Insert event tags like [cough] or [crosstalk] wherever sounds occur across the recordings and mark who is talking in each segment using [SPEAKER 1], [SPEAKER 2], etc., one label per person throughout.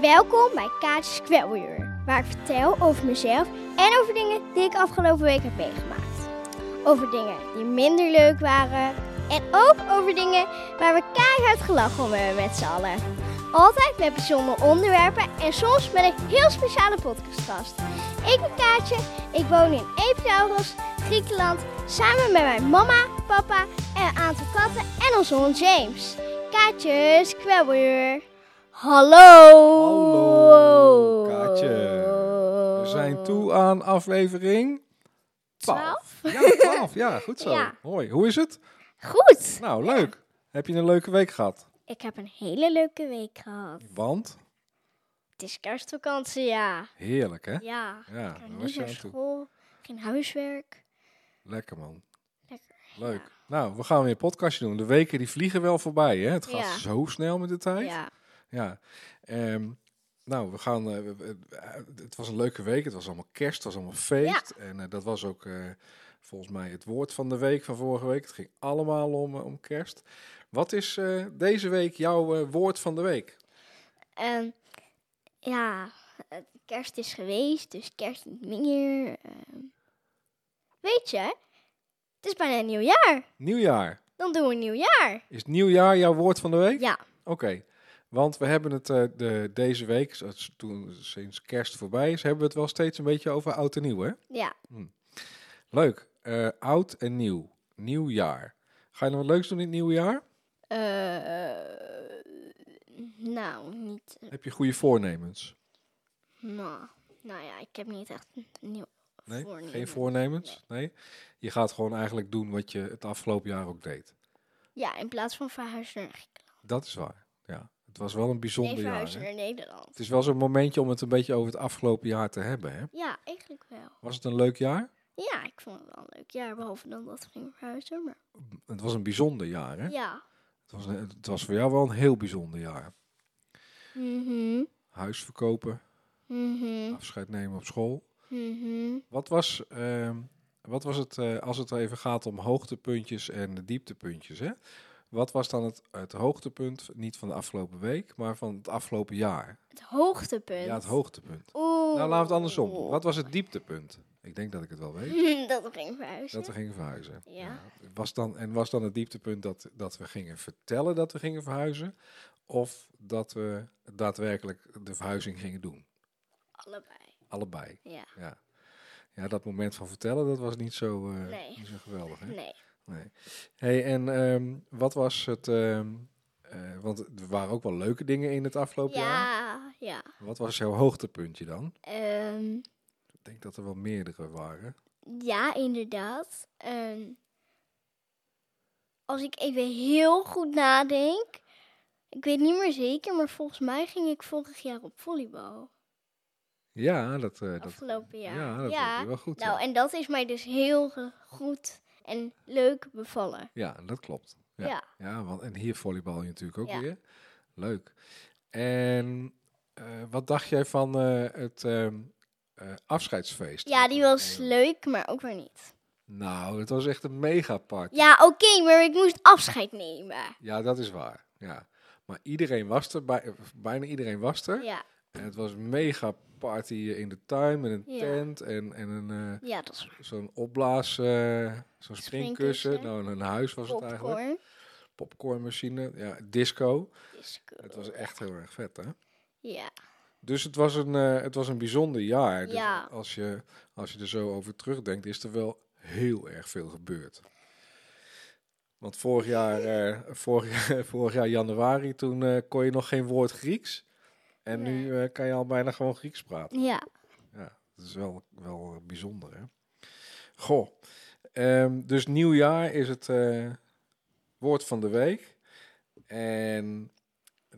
[SPEAKER 1] Welkom bij Kaatjes Kwelweer, waar ik vertel over mezelf en over dingen die ik afgelopen week heb meegemaakt. Over dingen die minder leuk waren en ook over dingen waar we keihard gelachen om hebben met z'n allen. Altijd met bijzondere onderwerpen en soms met een heel speciale podcastgast. Ik ben Kaatje, ik woon in Epidaurus, Griekenland, samen met mijn mama, papa en een aantal katten en onze hond James. Kaatjes Kwelweer. Hallo!
[SPEAKER 2] Hallo, Kaatje. We zijn toe aan aflevering 12. Ja, 12. Ja, goed zo.
[SPEAKER 1] Ja.
[SPEAKER 2] Hoi, hoe is het?
[SPEAKER 1] Goed!
[SPEAKER 2] Nou, leuk. Heb je een leuke week gehad?
[SPEAKER 1] Ik heb een hele leuke week gehad.
[SPEAKER 2] Want,
[SPEAKER 1] Het is kerstvakantie, ja.
[SPEAKER 2] heerlijk hè?
[SPEAKER 1] Ja,
[SPEAKER 2] Ja,
[SPEAKER 1] ik
[SPEAKER 2] daar
[SPEAKER 1] kan
[SPEAKER 2] was
[SPEAKER 1] niet
[SPEAKER 2] je
[SPEAKER 1] naar
[SPEAKER 2] aan toe.
[SPEAKER 1] school, geen huiswerk.
[SPEAKER 2] Lekker man.
[SPEAKER 1] Lekker.
[SPEAKER 2] Leuk. Nou, we gaan weer een podcastje doen. De weken die vliegen wel voorbij hè? Het gaat
[SPEAKER 1] Ja.
[SPEAKER 2] zo snel met de tijd.
[SPEAKER 1] Ja,
[SPEAKER 2] Ja. Ehm, nou, we gaan. eh, we- we- eh, het was een leuke week. Het was allemaal kerst. Het was allemaal feest. En eh, dat was ook eh, volgens mij het woord van de week van vorige week. Het ging allemaal om, eh, om kerst. Wat is eh, deze week jouw eh, woord van de week?
[SPEAKER 1] en ja, het- kerst is geweest, dus kerst niet meer. ehm. Weet je, het is bijna nieuwjaar.
[SPEAKER 2] Nieuwjaar.
[SPEAKER 1] Dan doen we nieuwjaar.
[SPEAKER 2] Is nieuwjaar jouw woord van de week?
[SPEAKER 1] Ja,
[SPEAKER 2] Oké. Want we hebben het eh, de, deze week, zo- toen, sinds kerst voorbij is, hebben we het wel steeds een beetje over oud en nieuw, hè?
[SPEAKER 1] ja.
[SPEAKER 2] Leuk. Eh, oud en nieuw. Nieuwjaar. Ga je nog wat leuks doen in het nieuwjaar?
[SPEAKER 1] Eh, nou, niet.
[SPEAKER 2] Heb je goede voornemens?
[SPEAKER 1] Nou, nou ja, ik heb niet echt een nieuw
[SPEAKER 2] Nee?
[SPEAKER 1] voornemen.
[SPEAKER 2] Geen voornemens? Nee. Je gaat gewoon eigenlijk doen wat je het afgelopen jaar ook deed.
[SPEAKER 1] Ja, in plaats van verhuizen naar Griekenland.
[SPEAKER 2] Dat is waar. Ja. Het was wel een
[SPEAKER 1] Nee,
[SPEAKER 2] bijzonder jaar.
[SPEAKER 1] verhuizen
[SPEAKER 2] hè?
[SPEAKER 1] naar Nederland.
[SPEAKER 2] Het is wel zo'n momentje om het een beetje over het afgelopen jaar te hebben. Hè?
[SPEAKER 1] Ja, eigenlijk wel.
[SPEAKER 2] Was het een leuk jaar?
[SPEAKER 1] Ja, ik vond het wel een leuk jaar, behalve dan dat we gingen verhuizen. Maar
[SPEAKER 2] Het was een bijzonder jaar. Hè?
[SPEAKER 1] ja.
[SPEAKER 2] Het, was een- het was voor jou wel een heel bijzonder jaar.
[SPEAKER 1] Mhm.
[SPEAKER 2] Huis verkopen,
[SPEAKER 1] Mhm.
[SPEAKER 2] afscheid nemen op school.
[SPEAKER 1] Mhm.
[SPEAKER 2] Wat was, ehm, wat was het, eh, als het er even gaat om hoogtepuntjes en de dieptepuntjes, hè? Wat was dan het, het hoogtepunt, niet van de afgelopen week, maar van het afgelopen jaar?
[SPEAKER 1] Het hoogtepunt.
[SPEAKER 2] Ja, het hoogtepunt.
[SPEAKER 1] Oeh.
[SPEAKER 2] Nou, laten we het andersom. Wat was het dieptepunt? Ik denk dat ik het wel weet.
[SPEAKER 1] [laughs] dat we gingen verhuizen.
[SPEAKER 2] Nou, Dat we gingen verhuizen.
[SPEAKER 1] Ja.
[SPEAKER 2] Was dan, en was dan het dieptepunt dat, dat we gingen vertellen dat we gingen verhuizen? Of dat we daadwerkelijk de verhuizing gingen doen?
[SPEAKER 1] Allebei.
[SPEAKER 2] Allebei.
[SPEAKER 1] Ja.
[SPEAKER 2] Ja, ja dat moment van vertellen, dat was niet zo, eh,
[SPEAKER 1] Nee.
[SPEAKER 2] niet zo geweldig. Hè?
[SPEAKER 1] Nee.
[SPEAKER 2] Nee. Hey, en ehm, wat was het? ehm, eh, want er waren ook wel leuke dingen in het afgelopen jaar.
[SPEAKER 1] Ja, ja.
[SPEAKER 2] Wat was jouw hoogtepuntje dan?
[SPEAKER 1] Ehm,
[SPEAKER 2] Ik denk dat er wel meerdere waren.
[SPEAKER 1] ja, inderdaad. Ehm, als ik even heel goed nadenk. Ik weet niet meer zeker, maar volgens mij ging ik vorig jaar op volleybal.
[SPEAKER 2] Ja, dat. eh, dat
[SPEAKER 1] Afgelopen jaar.
[SPEAKER 2] Ja, dat weet je wel goed.
[SPEAKER 1] Nou,
[SPEAKER 2] ja.
[SPEAKER 1] en dat is mij dus heel ge- goed en leuk bevallen.
[SPEAKER 2] Ja, dat klopt. Ja.
[SPEAKER 1] Ja.
[SPEAKER 2] ja. want, en hier volleybal je natuurlijk ook
[SPEAKER 1] Ja.
[SPEAKER 2] weer. Leuk. En eh, wat dacht jij van eh, het ehm, eh, afscheidsfeest?
[SPEAKER 1] Ja,
[SPEAKER 2] Wat
[SPEAKER 1] die
[SPEAKER 2] we-
[SPEAKER 1] was leuk, maar ook weer niet.
[SPEAKER 2] Nou, het was echt een mega party.
[SPEAKER 1] Ja, oké, maar ik moest afscheid nemen.
[SPEAKER 2] Ja, dat is waar. Ja. Maar iedereen was er, bij, bijna iedereen was er.
[SPEAKER 1] Ja,
[SPEAKER 2] En het was een mega party in de tuin met een
[SPEAKER 1] Ja.
[SPEAKER 2] tent en, en een, eh,
[SPEAKER 1] ja dat is waar.
[SPEAKER 2] zo'n opblaas, eh, zo'n
[SPEAKER 1] Springkussen.
[SPEAKER 2] springkussen. Nou, een huis was het eigenlijk.
[SPEAKER 1] popcorn.
[SPEAKER 2] Popcornmachine, ja, disco.
[SPEAKER 1] Disco.
[SPEAKER 2] Het was e- echt heel erg vet, hè?
[SPEAKER 1] Ja,
[SPEAKER 2] Dus het was een, eh, het was een bijzonder jaar. Dus
[SPEAKER 1] Ja.
[SPEAKER 2] als, je, als je er zo over terugdenkt, is er wel heel erg veel gebeurd. Want vorig jaar, eh, vorig, [laughs] jaar- vorig jaar januari, toen eh, kon je nog geen woord Grieks. En nu eh, kan je al bijna gewoon Grieks praten.
[SPEAKER 1] ja.
[SPEAKER 2] Ja, dat is wel, wel bijzonder, hè? Goh. Ehm, dus nieuwjaar is het eh, woord van de week. En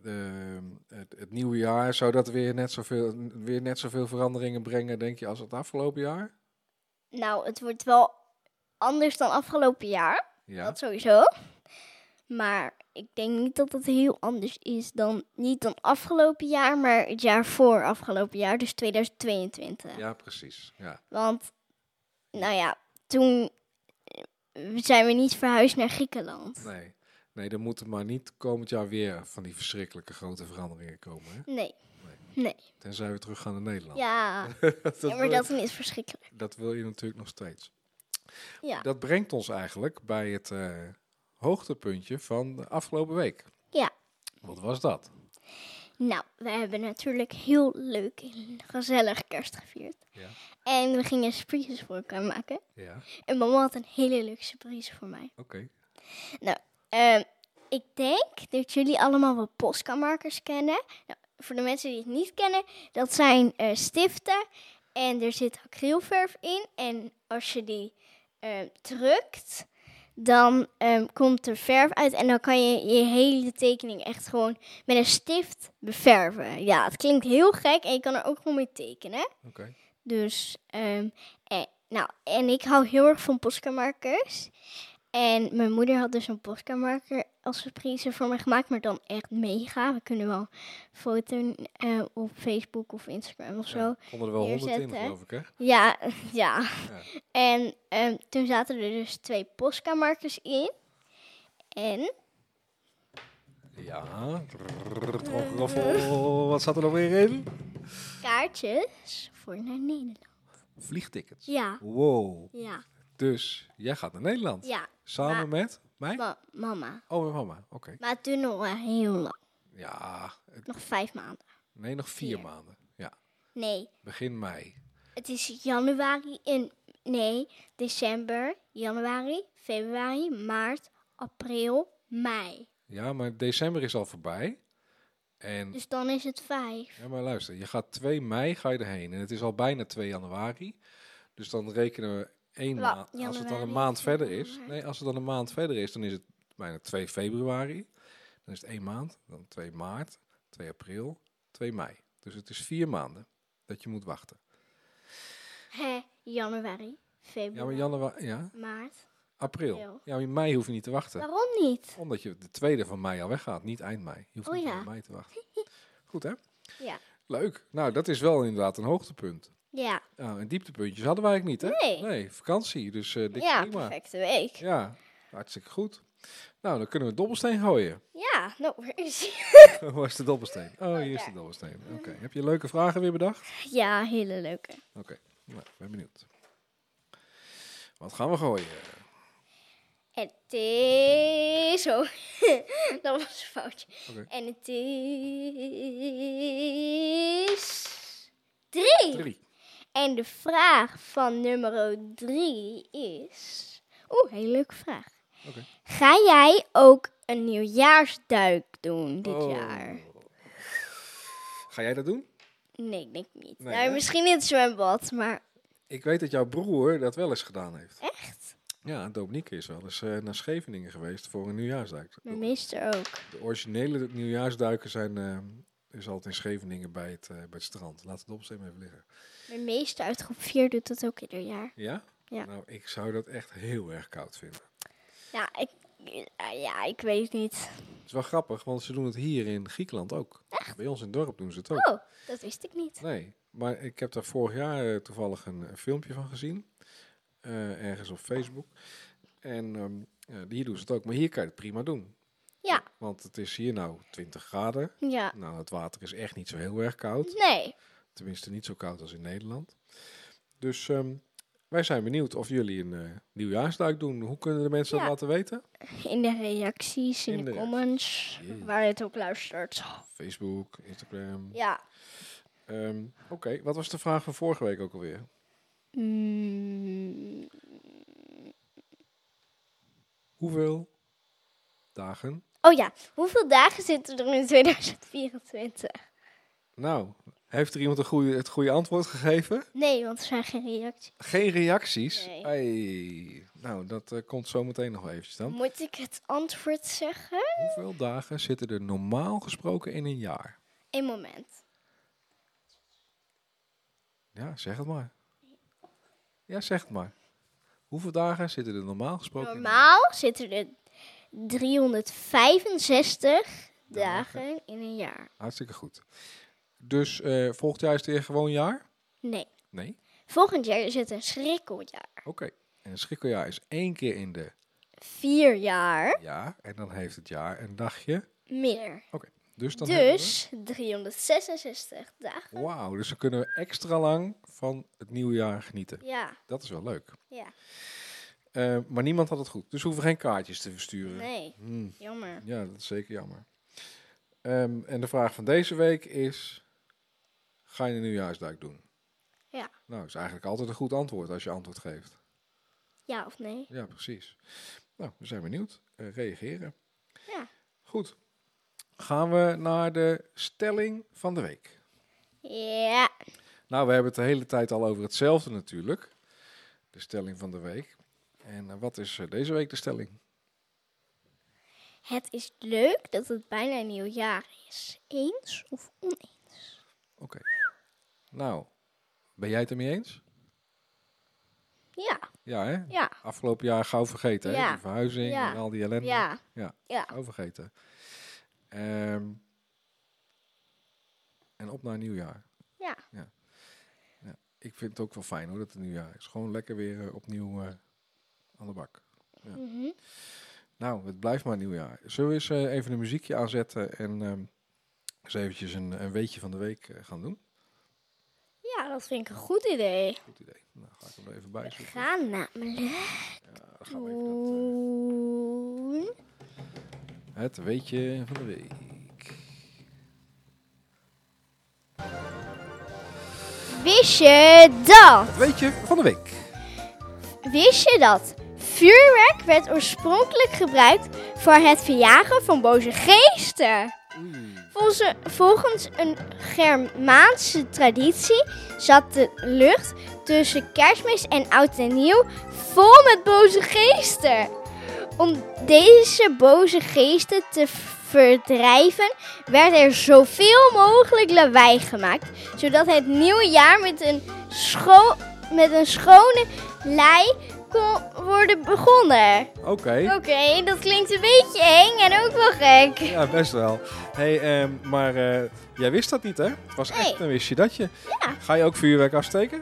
[SPEAKER 2] ehm, het, het nieuwe jaar, zou dat weer net, zoveel, weer net zoveel veranderingen brengen, denk je, als het afgelopen jaar?
[SPEAKER 1] Nou, het wordt wel anders dan afgelopen jaar.
[SPEAKER 2] Ja.
[SPEAKER 1] Dat sowieso. Maar ik denk niet dat het heel anders is dan, niet dan afgelopen jaar, maar het jaar voor afgelopen jaar, dus 2022.
[SPEAKER 2] Ja, precies. Ja.
[SPEAKER 1] Want, nou ja, toen eh, zijn we niet verhuisd naar Griekenland.
[SPEAKER 2] Nee. nee, er moeten maar niet komend jaar weer van die verschrikkelijke grote veranderingen komen. Hè?
[SPEAKER 1] Nee.
[SPEAKER 2] Nee.
[SPEAKER 1] Nee.
[SPEAKER 2] Tenzij we teruggaan naar Nederland.
[SPEAKER 1] Ja,
[SPEAKER 2] [laughs] dat,
[SPEAKER 1] ja maar
[SPEAKER 2] wil,
[SPEAKER 1] dat is verschrikkelijk.
[SPEAKER 2] dat wil je natuurlijk nog steeds.
[SPEAKER 1] Ja.
[SPEAKER 2] Dat brengt ons eigenlijk bij het eh, hoogtepuntje van de afgelopen week.
[SPEAKER 1] Ja.
[SPEAKER 2] Wat was dat?
[SPEAKER 1] Nou, we hebben natuurlijk heel leuk en gezellig kerst gevierd.
[SPEAKER 2] Ja.
[SPEAKER 1] En we gingen surprises voor elkaar maken.
[SPEAKER 2] Ja, oké.
[SPEAKER 1] En mama had een hele leuke surprise voor mij. Ehm, ik denk dat jullie allemaal wel Posca-markers kennen. Nou, voor de mensen die het niet kennen, dat zijn eh, stiften. En er zit acrylverf in. En als je die eh, drukt, dan ehm, komt er verf uit. En dan kan je je hele tekening echt gewoon met een stift beverven. Ja, het klinkt heel gek en je kan er ook gewoon mee tekenen.
[SPEAKER 2] Oké.
[SPEAKER 1] Dus, ehm, en, nou, en ik hou heel erg van Posca-markers. En mijn moeder had dus een Posca-marker als surprise voor me gemaakt, maar dan echt mega. We kunnen wel een foto eh, op Facebook of Instagram of zo.
[SPEAKER 2] Ja, konden er wel honderd in,
[SPEAKER 1] neerzetten, hè?
[SPEAKER 2] geloof ik, hè?
[SPEAKER 1] Ja, [laughs] ja.
[SPEAKER 2] Ja.
[SPEAKER 1] En ehm, toen zaten er dus twee Posca-markers in. En
[SPEAKER 2] Ja. Trrrrrrrrrrrrrrrrrrrrrrrrrrrrrrrrrrrrrrrrrrrr. Wat zat er nog weer in?
[SPEAKER 1] kaartjes voor naar Nederland.
[SPEAKER 2] Vliegtickets.
[SPEAKER 1] Ja,
[SPEAKER 2] Wow.
[SPEAKER 1] ja,
[SPEAKER 2] Dus jij gaat naar Nederland.
[SPEAKER 1] ja.
[SPEAKER 2] Samen met mij?
[SPEAKER 1] Ma- mama.
[SPEAKER 2] Oh, met mama. Oké.
[SPEAKER 1] Maar het duurde nog wel heel lang.
[SPEAKER 2] Ja. het-
[SPEAKER 1] Nog vijf maanden.
[SPEAKER 2] Nee, nog vier
[SPEAKER 1] Vier.
[SPEAKER 2] maanden. Ja.
[SPEAKER 1] Nee,
[SPEAKER 2] Begin mei.
[SPEAKER 1] Het is januari en nee, december, januari, februari, maart, april, mei.
[SPEAKER 2] Ja, maar december is al voorbij. En,
[SPEAKER 1] Dus dan is het vijf.
[SPEAKER 2] ja, maar luister. Je gaat 2 mei ga je erheen. En het is al bijna 2 januari. Dus dan rekenen we één
[SPEAKER 1] Wa-
[SPEAKER 2] maand. Als het dan
[SPEAKER 1] januari,
[SPEAKER 2] een maand verder is.
[SPEAKER 1] februari.
[SPEAKER 2] Nee, als het dan een maand verder is, dan is het bijna 2 februari. Dan is het 1 maand. Dan 2 maart. 2 april. 2 mei. Dus het is vier maanden dat je moet wachten.
[SPEAKER 1] Hè, januari,
[SPEAKER 2] Ja, maar
[SPEAKER 1] februari,
[SPEAKER 2] januari, ja,
[SPEAKER 1] maart.
[SPEAKER 2] april.
[SPEAKER 1] April.
[SPEAKER 2] Ja, maar in mei hoef je niet te wachten.
[SPEAKER 1] Waarom niet?
[SPEAKER 2] Omdat je de tweede van mei al weggaat, niet eind mei. Je hoeft
[SPEAKER 1] Oh
[SPEAKER 2] niet
[SPEAKER 1] ja.
[SPEAKER 2] eind mei te
[SPEAKER 1] [laughs]
[SPEAKER 2] wachten. Goed hè?
[SPEAKER 1] Ja.
[SPEAKER 2] Leuk. Nou, dat is wel inderdaad een hoogtepunt.
[SPEAKER 1] Ja,
[SPEAKER 2] Nou, en dieptepuntjes hadden wij eigenlijk niet hè?
[SPEAKER 1] Nee.
[SPEAKER 2] vakantie. Dus eh dit
[SPEAKER 1] ja,
[SPEAKER 2] prima.
[SPEAKER 1] perfecte week. Ja,
[SPEAKER 2] Ja, hartstikke goed. Nou, dan kunnen we dobbelsteen gooien. [laughs]
[SPEAKER 1] nou, waar is hij? [laughs]
[SPEAKER 2] Waar is de dobbelsteen? Oh, hier is de
[SPEAKER 1] daar.
[SPEAKER 2] dobbelsteen. Oké. Heb je leuke vragen weer bedacht?
[SPEAKER 1] Ja, hele leuke.
[SPEAKER 2] Oké. Nou, ik ben benieuwd. Wat gaan we gooien?
[SPEAKER 1] Het is zo. [laughs] dat was een foutje.
[SPEAKER 2] Oké.
[SPEAKER 1] En het is drie.
[SPEAKER 2] Drie.
[SPEAKER 1] En de vraag van nummer 3 is. Oeh, hele leuke vraag.
[SPEAKER 2] Oké.
[SPEAKER 1] Ga jij ook een nieuwjaarsduik doen dit
[SPEAKER 2] Oh.
[SPEAKER 1] jaar?
[SPEAKER 2] Ga jij dat doen?
[SPEAKER 1] Nee, ik denk niet.
[SPEAKER 2] Nee,
[SPEAKER 1] nou,
[SPEAKER 2] hè?
[SPEAKER 1] misschien in het zwembad, maar
[SPEAKER 2] Ik weet dat jouw broer dat wel eens gedaan heeft.
[SPEAKER 1] echt?
[SPEAKER 2] Ja, Dominique is wel eens eh, naar Scheveningen geweest voor een nieuwjaarsduik.
[SPEAKER 1] Mijn meester ook.
[SPEAKER 2] De originele nieuwjaarsduiken zijn eh, is altijd in Scheveningen bij het, eh, bij het strand. Laat het opsteen even liggen.
[SPEAKER 1] Mijn meester uit groep 4 doet dat ook ieder jaar.
[SPEAKER 2] Ja?
[SPEAKER 1] Ja.
[SPEAKER 2] Nou, ik zou dat echt heel erg koud vinden.
[SPEAKER 1] Ja, ik, eh, ja, ik weet niet.
[SPEAKER 2] Het is wel grappig, want ze doen het hier in Griekenland ook. Bij ons in het dorp doen ze het ook.
[SPEAKER 1] Oh, dat wist ik niet.
[SPEAKER 2] Nee, maar ik heb daar vorig jaar eh, toevallig een, een filmpje van gezien. eh, ergens op Facebook. En ehm, ja, hier doen ze het ook. Maar hier kan je het prima doen.
[SPEAKER 1] Ja.
[SPEAKER 2] Want het is hier nou 20 graden.
[SPEAKER 1] Ja.
[SPEAKER 2] Nou, het water is echt niet zo heel erg koud.
[SPEAKER 1] Nee.
[SPEAKER 2] Tenminste, niet zo koud als in Nederland. Dus ehm, wij zijn benieuwd of jullie een eh, nieuwjaarsduik doen. Hoe kunnen de mensen
[SPEAKER 1] Ja.
[SPEAKER 2] dat laten weten?
[SPEAKER 1] In de reacties, in,
[SPEAKER 2] In
[SPEAKER 1] de,
[SPEAKER 2] de
[SPEAKER 1] comments,
[SPEAKER 2] Jee.
[SPEAKER 1] waar je het ook luistert.
[SPEAKER 2] Facebook, Instagram.
[SPEAKER 1] Ja.
[SPEAKER 2] Ehm, Oké, wat was de vraag van vorige week ook alweer?
[SPEAKER 1] Mm,
[SPEAKER 2] Hoeveel dagen?
[SPEAKER 1] Oh ja, hoeveel dagen zitten er in 2024?
[SPEAKER 2] Nou, heeft er iemand een goede, het goede antwoord gegeven?
[SPEAKER 1] Nee, want er zijn geen reacties.
[SPEAKER 2] Geen reacties?
[SPEAKER 1] Nee.
[SPEAKER 2] Hey, nou, dat eh, komt zo meteen nog wel eventjes dan.
[SPEAKER 1] Moet ik het antwoord zeggen?
[SPEAKER 2] Hoeveel dagen zitten er normaal gesproken in een jaar?
[SPEAKER 1] Een moment.
[SPEAKER 2] Ja, zeg het maar. Ja, zeg het maar. Hoeveel dagen zitten er normaal gesproken in?
[SPEAKER 1] Normaal zitten er 365 dagen in een jaar.
[SPEAKER 2] Hartstikke goed. Dus eh volgend jaar is het weer gewoon jaar?
[SPEAKER 1] Nee.
[SPEAKER 2] Nee?
[SPEAKER 1] Volgend jaar is het een schrikkeljaar.
[SPEAKER 2] Oké. En een schrikkeljaar is één keer in de
[SPEAKER 1] Vier jaar
[SPEAKER 2] jaar. En dan heeft het jaar een dagje.
[SPEAKER 1] meer.
[SPEAKER 2] Oké, Dus dan hebben we-
[SPEAKER 1] Dus 366 dagen.
[SPEAKER 2] Wauw, dus dan kunnen we extra lang van het nieuwe jaar genieten.
[SPEAKER 1] Ja,
[SPEAKER 2] Dat is wel leuk.
[SPEAKER 1] ja.
[SPEAKER 2] Eh, maar niemand had het goed, dus we hoeven geen kaartjes te versturen.
[SPEAKER 1] Nee,
[SPEAKER 2] Hmm,
[SPEAKER 1] jammer.
[SPEAKER 2] ja, dat is zeker jammer. Ehm, en de vraag van deze week is, ga je een nieuwjaarsduik doen?
[SPEAKER 1] Ja.
[SPEAKER 2] Nou, is eigenlijk altijd een goed antwoord als je antwoord geeft.
[SPEAKER 1] Ja of nee?
[SPEAKER 2] Ja, precies. Nou, we zijn benieuwd. Eh, reageren.
[SPEAKER 1] Ja.
[SPEAKER 2] Goed. Gaan we naar de stelling van de week.
[SPEAKER 1] Ja.
[SPEAKER 2] Nou, we hebben het de hele tijd al over hetzelfde natuurlijk. De stelling van de week. En eh, wat is eh, deze week de stelling?
[SPEAKER 1] Het is leuk dat het bijna een nieuw jaar is. Eens of oneens?
[SPEAKER 2] Oké. Nou, ben jij het ermee eens?
[SPEAKER 1] Ja,
[SPEAKER 2] Ja, hè?
[SPEAKER 1] ja,
[SPEAKER 2] Afgelopen jaar gauw vergeten, hè?
[SPEAKER 1] Ja.
[SPEAKER 2] Die verhuizing
[SPEAKER 1] Ja.
[SPEAKER 2] en al die ellende.
[SPEAKER 1] ja.
[SPEAKER 2] Ja.
[SPEAKER 1] Ja.
[SPEAKER 2] Gauw vergeten. Ehm, en op naar nieuwjaar.
[SPEAKER 1] Ja.
[SPEAKER 2] ja. Ja. Ik vind het ook wel fijn hoor, dat het nieuwjaar is. Gewoon lekker weer eh, opnieuw eh, aan de bak. Ja.
[SPEAKER 1] Mhm.
[SPEAKER 2] Nou, het blijft maar nieuwjaar. Zullen we eens eh, even een muziekje aanzetten en ehm, eens eventjes een, een weetje van de week eh, gaan doen?
[SPEAKER 1] Ja, dat vind ik een goed idee.
[SPEAKER 2] Goed idee. Nou, ga ik hem er even bij
[SPEAKER 1] We
[SPEAKER 2] zoeken.
[SPEAKER 1] gaan namelijk
[SPEAKER 2] Ja, dan gaan we even dat,
[SPEAKER 1] doen.
[SPEAKER 2] eh, het weetje van de week.
[SPEAKER 1] Wist je dat?
[SPEAKER 2] Het weetje van de week.
[SPEAKER 1] Wist je dat? Vuurwerk werd oorspronkelijk gebruikt voor het verjagen van boze geesten. Volgens, volgens een Germaanse traditie zat de lucht tussen kerstmis en oud en nieuw vol met boze geesten. Om deze boze geesten te verdrijven werd er zoveel mogelijk lawaai gemaakt, zodat het nieuwe jaar met een, scho- met een schone lei kon worden begonnen.
[SPEAKER 2] Oké.
[SPEAKER 1] Oké, dat klinkt een beetje eng en ook wel gek.
[SPEAKER 2] Ja, best wel. Hey, ehm, maar eh, jij wist dat niet, hè? Het was echt
[SPEAKER 1] Nee.
[SPEAKER 2] een wist je dat je.
[SPEAKER 1] Ja.
[SPEAKER 2] Ga je ook vuurwerk afsteken?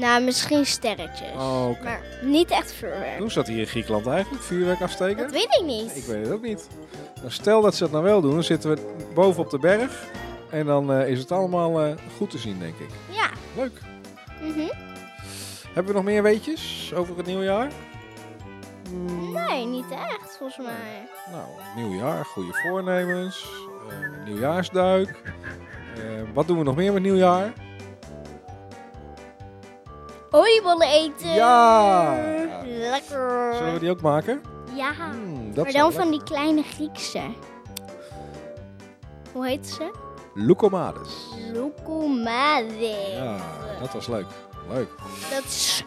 [SPEAKER 1] Nou, misschien sterretjes.
[SPEAKER 2] Oh, oké.
[SPEAKER 1] Maar niet echt vuurwerk.
[SPEAKER 2] Hoe is dat hier in Griekenland eigenlijk? Vuurwerk afsteken?
[SPEAKER 1] Dat weet ik niet.
[SPEAKER 2] Ik weet het ook niet. Nou, stel dat ze dat nou wel doen, dan zitten we boven op de berg. En dan eh, is het allemaal eh, goed te zien, denk ik.
[SPEAKER 1] Ja.
[SPEAKER 2] Leuk.
[SPEAKER 1] Mhm.
[SPEAKER 2] Hebben we nog meer weetjes over het nieuwjaar? Mm,
[SPEAKER 1] Nee, niet echt volgens mij.
[SPEAKER 2] Nou, nieuwjaar, goede voornemens, eh, nieuwjaarsduik. Eh, wat doen we nog meer met nieuwjaar?
[SPEAKER 1] Oliebollen eten.
[SPEAKER 2] Ja.
[SPEAKER 1] Lekker.
[SPEAKER 2] Zullen we die ook maken?
[SPEAKER 1] Ja.
[SPEAKER 2] Hmm, dat
[SPEAKER 1] Maar
[SPEAKER 2] zou
[SPEAKER 1] dan van die
[SPEAKER 2] lekker.
[SPEAKER 1] kleine Griekse. Hoe heet ze?
[SPEAKER 2] Lucomades.
[SPEAKER 1] Lokomade.
[SPEAKER 2] Ja, dat was leuk. Leuk.
[SPEAKER 1] Dat is...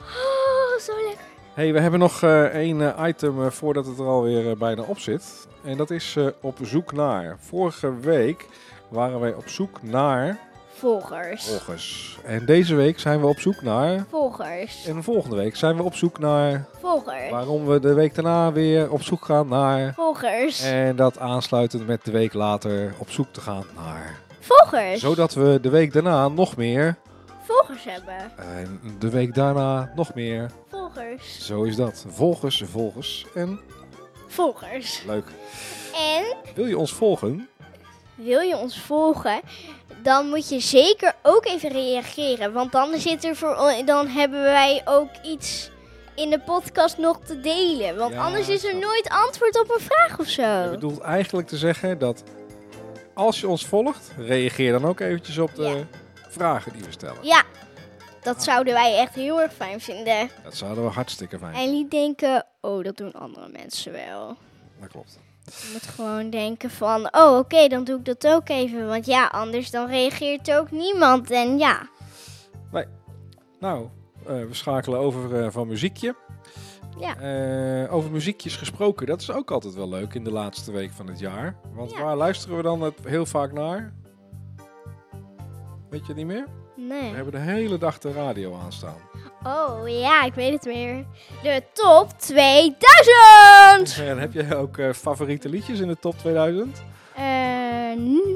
[SPEAKER 1] Oh, zo lekker.
[SPEAKER 2] hey, we hebben nog eh één eh, item eh, voordat het er alweer eh, bijna op zit. En dat is eh, op zoek naar. Vorige week waren wij op zoek naar
[SPEAKER 1] Volgers.
[SPEAKER 2] Oh. volgers. En deze week zijn we op zoek naar...
[SPEAKER 1] Volgers.
[SPEAKER 2] En volgende week zijn we op zoek naar...
[SPEAKER 1] Volgers.
[SPEAKER 2] Waarom we de week daarna weer op zoek gaan naar...
[SPEAKER 1] Volgers.
[SPEAKER 2] En dat aansluitend met de week later op zoek te gaan naar...
[SPEAKER 1] Volgers.
[SPEAKER 2] Zodat we de week daarna nog meer...
[SPEAKER 1] Volgers hebben.
[SPEAKER 2] En de week daarna nog meer.
[SPEAKER 1] Volgers.
[SPEAKER 2] Zo is dat. Volgers, volgers. En
[SPEAKER 1] Volgers.
[SPEAKER 2] leuk.
[SPEAKER 1] En
[SPEAKER 2] Wil je ons volgen?
[SPEAKER 1] Wil je ons volgen? Dan moet je zeker ook even reageren. Want dan, zit er voor, on- dan hebben wij ook iets in de podcast nog te delen. Want
[SPEAKER 2] Ja,
[SPEAKER 1] anders is er
[SPEAKER 2] snap ik.
[SPEAKER 1] nooit antwoord op een vraag of
[SPEAKER 2] Je
[SPEAKER 1] zo.
[SPEAKER 2] bedoelt eigenlijk te zeggen dat als je ons volgt, reageer dan ook eventjes op de vragen die we stellen.
[SPEAKER 1] Ja, dat zouden wij echt heel erg fijn vinden.
[SPEAKER 2] Dat zouden we hartstikke fijn.
[SPEAKER 1] En niet denken, oh dat doen andere mensen wel.
[SPEAKER 2] Dat klopt.
[SPEAKER 1] Je moet gewoon denken van, oh oké, dan doe ik dat ook even. Want ja, anders dan reageert ook niemand. En ja,
[SPEAKER 2] Nou, eh, we schakelen over eh, van muziekje.
[SPEAKER 1] Ja.
[SPEAKER 2] Eh, over muziekjes gesproken, dat is ook altijd wel leuk in de laatste week van het jaar. Want
[SPEAKER 1] Ja.
[SPEAKER 2] waar luisteren we dan het heel vaak naar? Weet je het niet meer?
[SPEAKER 1] nee.
[SPEAKER 2] We hebben de hele dag de radio aanstaan.
[SPEAKER 1] Oh ja, ik weet het weer. De top 2000!
[SPEAKER 2] En heb jij ook eh, favoriete liedjes in de top 2000?
[SPEAKER 1] Eh,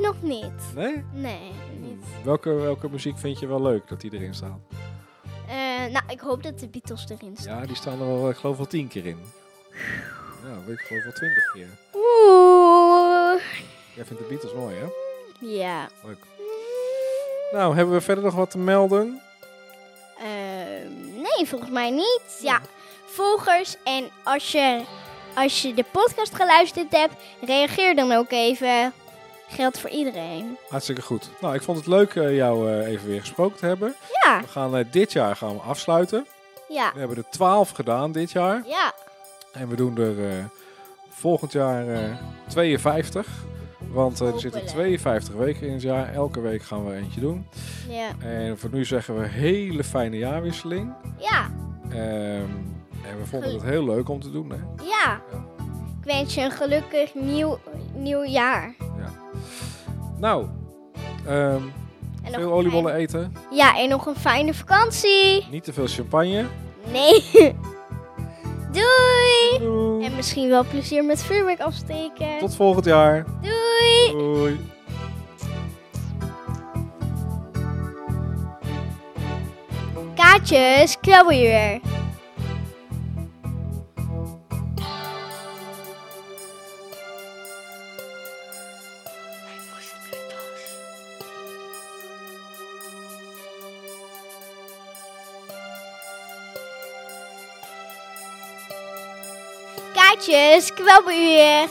[SPEAKER 1] nog niet.
[SPEAKER 2] Nee?
[SPEAKER 1] Nee, niet.
[SPEAKER 2] Welke, welke muziek vind je wel leuk dat die erin staat?
[SPEAKER 1] Eh, nou, ik hoop dat de Beatles erin staan.
[SPEAKER 2] Ja, die staan er wel, eh, ik geloof wel tien keer in. Ja, weet ik geloof wel twintig keer.
[SPEAKER 1] Oeh.
[SPEAKER 2] Ja, Jij vindt de Beatles mooi, hè?
[SPEAKER 1] Ja.
[SPEAKER 2] Leuk. Nou, hebben we verder nog wat te melden?
[SPEAKER 1] Ehm, nee, volgens mij niet. Ja, volgers en als je, als je de podcast geluisterd hebt, reageer dan ook even. Geldt voor iedereen.
[SPEAKER 2] Hartstikke goed. Nou, ik vond het leuk eh, jou eh, even weer gesproken te hebben.
[SPEAKER 1] Ja,
[SPEAKER 2] We gaan eh, dit jaar gaan we afsluiten.
[SPEAKER 1] ja,
[SPEAKER 2] We hebben er 12 gedaan dit jaar.
[SPEAKER 1] ja.
[SPEAKER 2] En we doen er eh, volgend jaar eh, 52. Want eh, er zitten
[SPEAKER 1] Hopelijk.
[SPEAKER 2] 52 weken in het jaar. Elke week gaan we eentje doen.
[SPEAKER 1] Ja,
[SPEAKER 2] En voor nu zeggen we hele fijne jaarwisseling.
[SPEAKER 1] ja,
[SPEAKER 2] Ehm, en we vonden het heel leuk om te doen. Hè?
[SPEAKER 1] ja. Ik wens je een gelukkig nieuw, nieuw jaar.
[SPEAKER 2] Nou, ehm,
[SPEAKER 1] En nog
[SPEAKER 2] veel
[SPEAKER 1] een
[SPEAKER 2] oliebollen eten.
[SPEAKER 1] fijne- Ja, en nog een fijne vakantie.
[SPEAKER 2] Niet te veel champagne.
[SPEAKER 1] Nee. [laughs] Doei.
[SPEAKER 2] Doei.
[SPEAKER 1] En misschien wel plezier met vuurwerk afsteken.
[SPEAKER 2] Tot volgend jaar.
[SPEAKER 1] Doei.
[SPEAKER 2] Doei.
[SPEAKER 1] Kaartjes, kwelweer. Kaartjes, kwelweer.